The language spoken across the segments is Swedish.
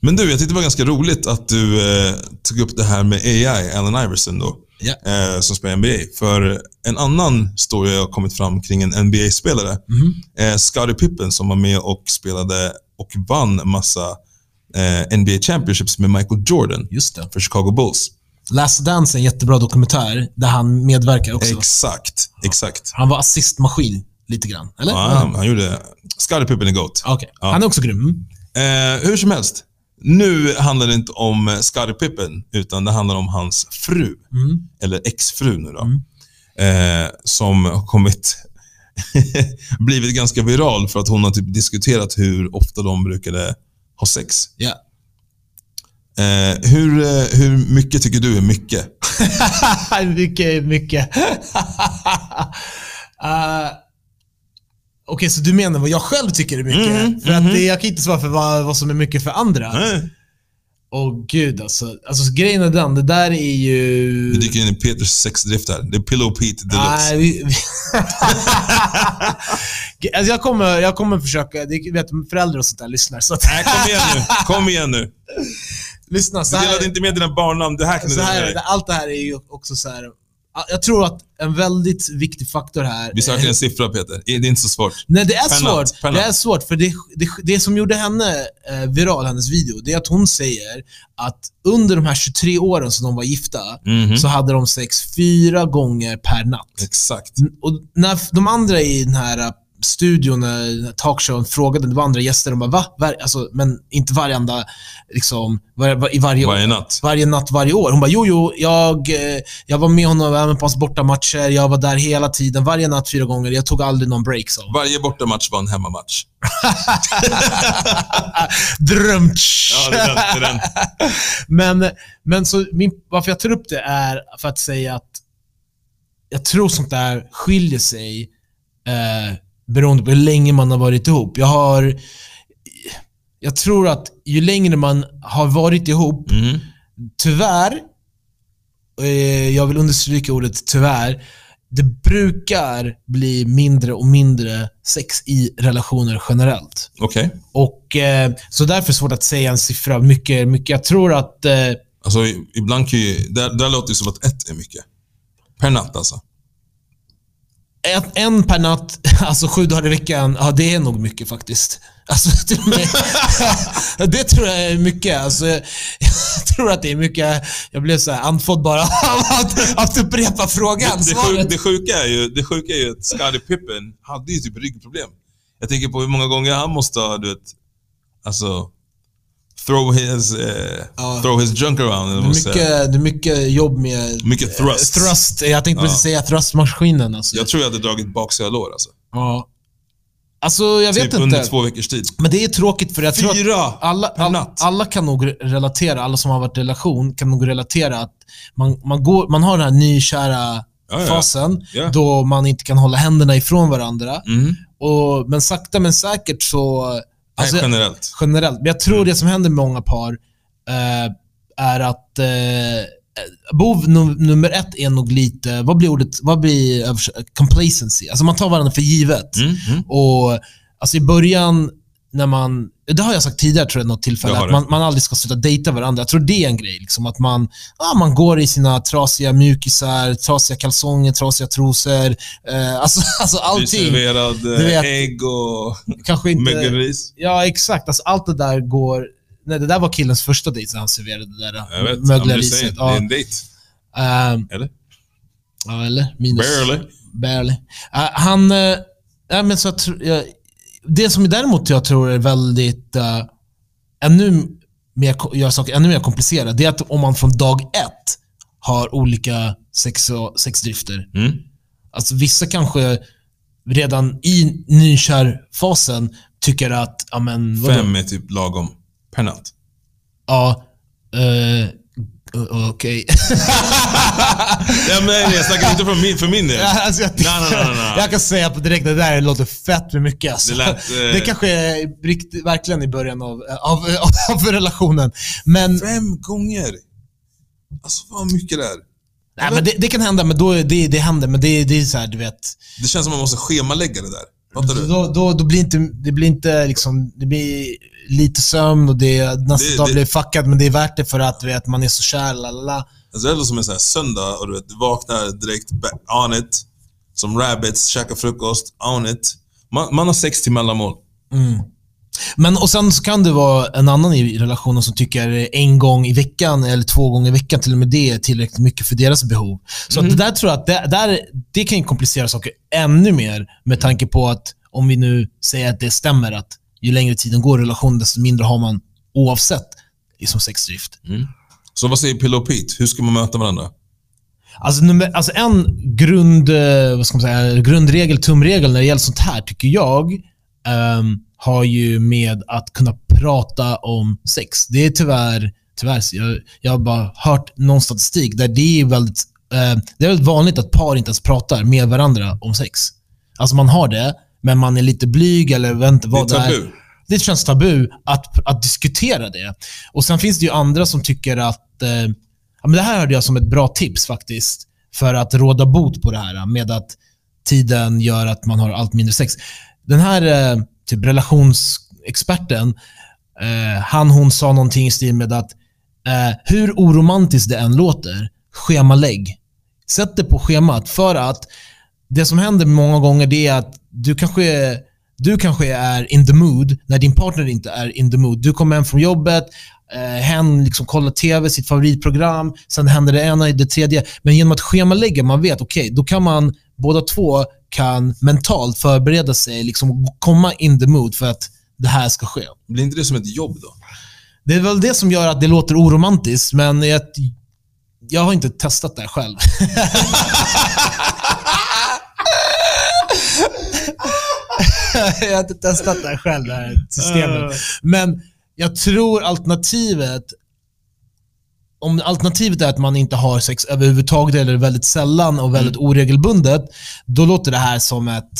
Men du, jag tyckte det var ganska roligt att du eh, tog upp det här med AI, Allen Iverson då, Ja. eh, som spelar NBA. För en annan story har kommit fram kring en NBA-spelare, Mhm. eh, Scottie Pippen, som var med och spelade och vann massa eh, NBA Championships med Michael Jordan Just det. för Chicago Bulls. Last Dance är en jättebra dokumentär där han medverkar också. Exakt, exakt. han var assistmaskin lite grann, eller? Ja, han, han gjorde... Scottie Pippen är GOAT. Ja. Okej. Ja. Han är också grym. Eh, hur som helst, nu handlar det inte om eh, Scottie Pippen, utan det handlar om hans fru. Mm. eller exfru nu då, Mm. eh, som har kommit blivit ganska viral för att hon har typ diskuterat hur ofta de brukade ha sex. Ja. Eh, hur, eh, hur mycket tycker du är mycket? mycket, mycket. Ah, Okej, så du menar vad jag själv tycker är mycket? Mhm, för att det, jag kan inte svara för vad, vad som är mycket för andra. Åh Nej. gud alltså. alltså. Grejen är den, det där är ju... Vi dyker in i Peters sexdrift här. Det är Pillow Pete deluxe. Nej, vi, vi... alltså jag, kommer, jag kommer försöka, det vet föräldrar och sånt där lyssnar. Så att, Nej, kom igen nu. Kom igen nu. lyssna, så Du här, delade inte med dina barnnamn. Det här kan du så dela här, med är det. dig. allt det här är ju också så här. Jag tror att en väldigt viktig faktor här... Vi söker eh, en siffra Peter. Det är inte så svårt. Nej, det är Penna, svårt. penna. Det är svårt, för det, det, det som gjorde henne eh, viral, hennes video, det är att hon säger att under de här 23 åren som de var gifta, Mhm. så hade de sex fyra gånger per natt. Exakt. Och när de andra i den här eh, studion, eh, den här talkshowen, frågade, det var andra gäster, de bara va? Var, alltså, men inte varenda, liksom, var, var, i varje, Varje natt. varje natt varje år. Hon bara, jo, jo, jag, eh, jag var med honom även på hans bortamatcher, jag var där hela tiden, varje natt fyra gånger, jag tog aldrig någon break. Så. Varje bortamatch var en hemmamatch. Drömt! Ja, det är den. Det är den. Men, men så min, varför jag tar upp det är för att säga att jag tror sånt där skiljer sig eh, beroende på hur länge man har varit ihop. Jag har... Jag tror att ju längre man har varit ihop, Mhm. tyvärr, eh, jag vill understryka ordet tyvärr, det brukar bli mindre och mindre sex i relationer generellt. Okej. Och eh, Så därför är det svårt att säga en siffra. Mycket, mycket. Jag tror att... Eh, Alltså, i- ibland kan ju... Där, där låter det som att ett är mycket. Per natt alltså. en, en per natt, alltså sju dagar i veckan, ja det är nog mycket faktiskt. Alltså, till och med, det tror jag är mycket. Alltså, jag tror att det är mycket. Jag blev så här andfådd bara av att, att upprepa frågan. Det, svaret. sjuk, det, sjuka är ju, det sjuka är ju att Scottie Pippen hade ju typ ryggproblem. Jag tänker på hur många gånger han måste ha, du vet, alltså, throw his, eh, Ja. throw his junk around. Eller det, vad är man säger. mycket, det är mycket jobb med mycket thrust. thrust. Jag tänkte precis Ja. säga thrustmaskinen. Alltså. Jag tror jag hade dragit baksida lår alltså. ja. alltså, jag vet Typ under inte. två veckors tid. Men det är tråkigt för jag tror att- Fyra! alla, per alla, natt. alla kan nog re- relatera, alla som har varit i relation kan nog relatera att man, man, går, man har den här nykära Ja, ja. fasen Ja. då man inte kan hålla händerna ifrån varandra. Mm. Och, men sakta men säkert så... Alltså, Nej, generellt. generellt. Men jag tror Mm. det som händer med många par eh, är att eh, bov num- nummer ett är nog lite, vad blir ordet, vad blir övers- complacency? Alltså man tar varandra för givet. Mm. Mm. Och alltså i början när man, det har jag sagt tidigare tror jag något tillfälle, Det har att du. man, man aldrig ska sluta dejta varandra. Jag tror det är en grej. Liksom, att man, ja, man går i sina trasiga mjukisar, trasiga kalsonger, trasiga trosor. Eh, alltså, alltså allting. Nyserverad Du vet- eh, ägg och Kanske inte... mögelris. Ja, exakt. Alltså, allt det där går... Nej, det där var killens första dejt när han serverade det Jag vet. där Ja, men du mögleriset. säger, Det Ja, är en dejt. ehm, Eller? ja, eller? Minus. Barely. Barely. Eh, han... eh, ja, men så jag, tr- jag, det som däremot jag tror är väldigt... eh, ännu mer, ko- gör saker ännu mer komplicerade, det är att om man från dag ett har olika sex och, sexdrifter. Mm. Alltså vissa kanske redan i nykärfasen tycker att, ja men vadå? Fem är typ lagom per natt. Ja. eh, o- Okej. Ja, men nej, jag snackar inte från min, för min del. Alltså, jag, Nej, nej, nej, nej, nej. jag kan säga på direkt, det där låter fett med mycket. Alltså. Det lät, eh, det kanske är rikt, verkligen i början av, av, av relationen. Men Fem gånger! Alltså vad mycket det är. Nej, men det, det kan hända, men då, är- det, det händer. Men det, det är så här, du vet. Det känns som man måste schemalägga det där. Fattar du? Då, då, då blir inte, det blir inte liksom, det blir lite sömn och det, nästa Det- dag det- blir fuckad, men det är värt det för att du vet, man är så kär. Lalala. Alltså, det är som en sån här söndag och du, vet, du vaknar direkt ba- on it. Som rabbits, käkar frukost, on it. Man, man har sex till mellanmål. Mm. Men och sen så kan det vara en annan i relationen som tycker en gång i veckan eller två gånger i veckan, till och med det är tillräckligt mycket för deras behov. Så att det där tror jag att det, där, det kan ju komplicera saker ännu mer med tanke på att om vi nu säger att det stämmer att ju längre tiden går i relationen desto mindre har man oavsett liksom sexdrift. Så vad säger Pillow Pete? Hur ska man möta varandra? Alltså, nummer, alltså en grund, eh, vad ska man säga, grundregel, tumregel när det gäller sånt här, tycker jag, ehm, har ju med att kunna prata om sex. Det är tyvärr, tyvärr så jag, jag har bara hört någon statistik där det är väldigt, eh, det är väldigt vanligt att par inte ens pratar med varandra om sex. Alltså man har det, men man är lite blyg eller vänta, vad det är tabu. det känns tabu att, att diskutera det. Och Sen finns det ju andra som tycker att... Eh, ja, men det här hörde jag som ett bra tips faktiskt för att råda bot på det här med att tiden gör att man har allt mindre sex. Den här eh, typ relationsexperten, eh, han hon sa någonting i stil med att eh, hur oromantiskt det än låter, schemalägg. Sätt det på schemat för att det som händer många gånger det är att du kanske, du kanske är in the mood när din partner inte är in the mood. Du kommer hem från jobbet, eh, hen liksom kollar TV, sitt favoritprogram, sen händer det ena, det tredje. Men genom att schemalägga, man vet, okej, då kan man båda två kan mentalt förbereda sig, liksom komma in the mood för att det här ska ske. Blir inte det som ett jobb då? Det är väl det som gör att det låter oromantiskt, men jag, jag har inte testat det här själv. jag har inte testat det här själv, det här systemet. Men jag tror alternativet, om alternativet är att man inte har sex överhuvudtaget eller väldigt sällan och väldigt oregelbundet, då låter det här som ett,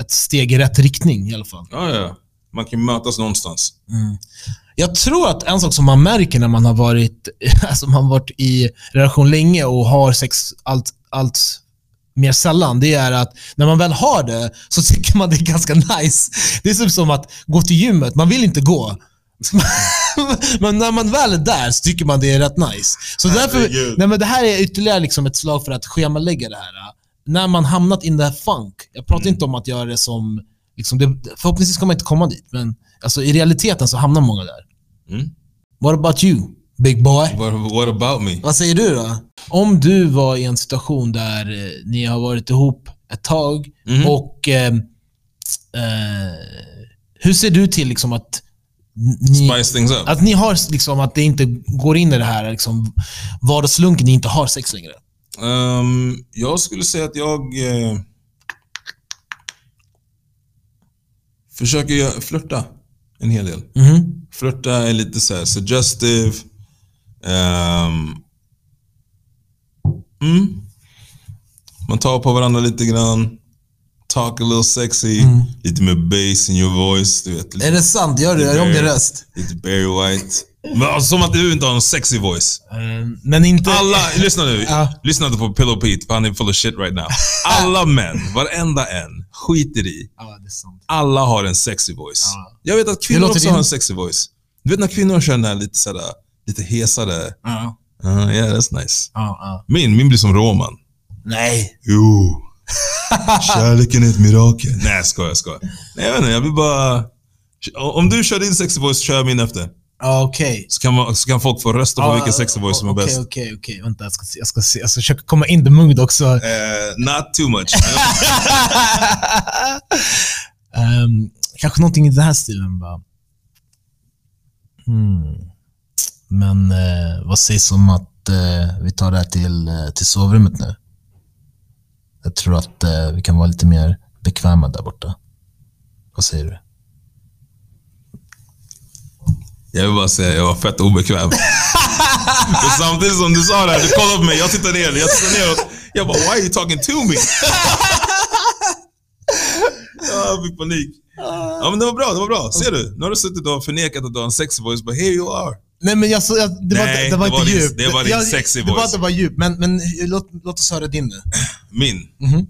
ett steg i rätt riktning i alla fall. Ja, ja. Man kan ju mötas någonstans. Jag tror att en sak som man märker när man har varit, alltså man har varit i relation länge och har sex allt, allt mer sällan, det är att när man väl har det så tycker man det är ganska nice. Det är typ som att gå till gymmet, man vill inte gå. men när man väl är där så tycker man det är rätt nice. Så därför, Herregud. nej men det här är ytterligare liksom ett slag för att schemalägga det här. När man hamnat in the funk, jag pratar inte om att göra det som, liksom det, förhoppningsvis kommer man inte komma dit, men alltså i realiteten så hamnar många där. Mm. What about you, big boy? What, what about me? Vad säger du då? Om du var i en situation där eh, ni har varit ihop ett tag Mhm. och eh, eh, hur ser du till liksom att n- ni, Spice things up. att ni har liksom att det inte går in i det här liksom vardagslunken, ni inte har sex längre? Ehm, jag skulle säga att jag eh, försöker gö- flirta en hel del. Mhm. Flirta är lite så här suggestive. Ehm, mm. Man tar på varandra lite grann. Talk a little sexy. Lite med bass in your voice. Du vet, Är lite, det sant? Gör du? Gör jag om din Nej. röst? lite Barry White. Men, alltså, som att du inte har en sexy voice. Eh, men inte... Alla, lyssna nu. Ja. Lyssna inte på Pillow Pete, för han är full of shit right now. Alla män, varenda en, skiter i. Ja, det är sant. Alla har en sexy voice. Ja. Jag vet att Det kvinnor låter också din- har en sexy voice. Du vet när kvinnor kör den här lite sådär, lite hesare. Ja, Uh, yeah, that's nice. ja, ja. Min, min blir som Roman. Nej. Jo. Kärleken är ett mirakel. Nej, jag skojar, jag skojar. Nej, jag vet inte, jag vill bara... Om du kör din sexy voice, kör jag min efter. Ja, Okej. Så kan, man, så kan folk få rösta på Ja, vilken sexy voice som är okej, bäst. Okej, okej, Vänta, jag ska, se, jag ska se. Alltså, Jag ska försöka komma in the mood också. Eh, not too much. Ehm, kanske någonting i den här stilen bara. Mm. Men eh, vad sägs om att eh, vi tar det här till, eh, till sovrummet nu? Jag tror att eh, vi kan vara lite mer bekväma där borta. Vad säger du? Jag vill bara säga jag var fett obekväm. För samtidigt som du sa det här, du kollade på mig, jag tittade ner, jag tittade neråt. Jag bara, why are you talking to me? jag fick panik. Ja men det var bra, det var bra. Ser du? Nu har du suttit och förnekat att du har en sexy voice, but here you are. Nej, men jag, så, jag, det, var, Nej, det var det inte var din- djup. det var din jag, sexy det voice. Var, det var djup, men, men eh, låt, låt oss höra din nu. Min. Mhm.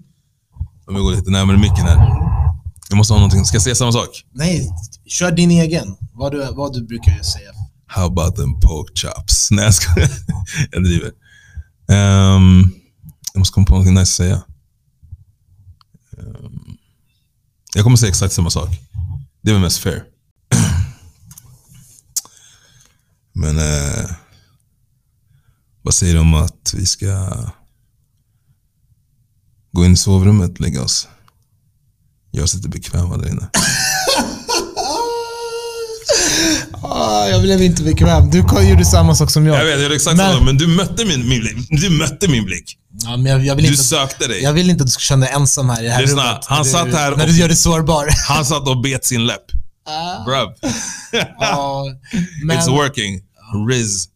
Om jag går lite närmare micken här. Jag måste ha någonting. Ska jag säga samma sak? Nej, kör din egen. Vad du, vad du brukar säga. How about them pork chops? Nej, jag skojar. Jag driver. Ehm, jag måste komma på någonting nice att säga. Ehm, jag kommer säga exakt samma sak. Det är väl mest fair. Men eh, vad säger du om att vi ska gå in i sovrummet, lägga oss? Göra oss lite bekväma där inne. Ah, jag blev inte bekväm. Du kom- gjorde samma sak som jag. Jag vet, jag gjorde exakt Men- samma sak, men du mötte min, min blick. Du mötte min blick. Ja, men jag, jag, vill Du inte, sökte dig. jag vill inte att du ska känna dig ensam här i det här Lyssna, han när satt du, här När och- du gör dig sårbar. Han satt och bet sin läpp. Ah. Bruv. Ja, men, It's working. Riz.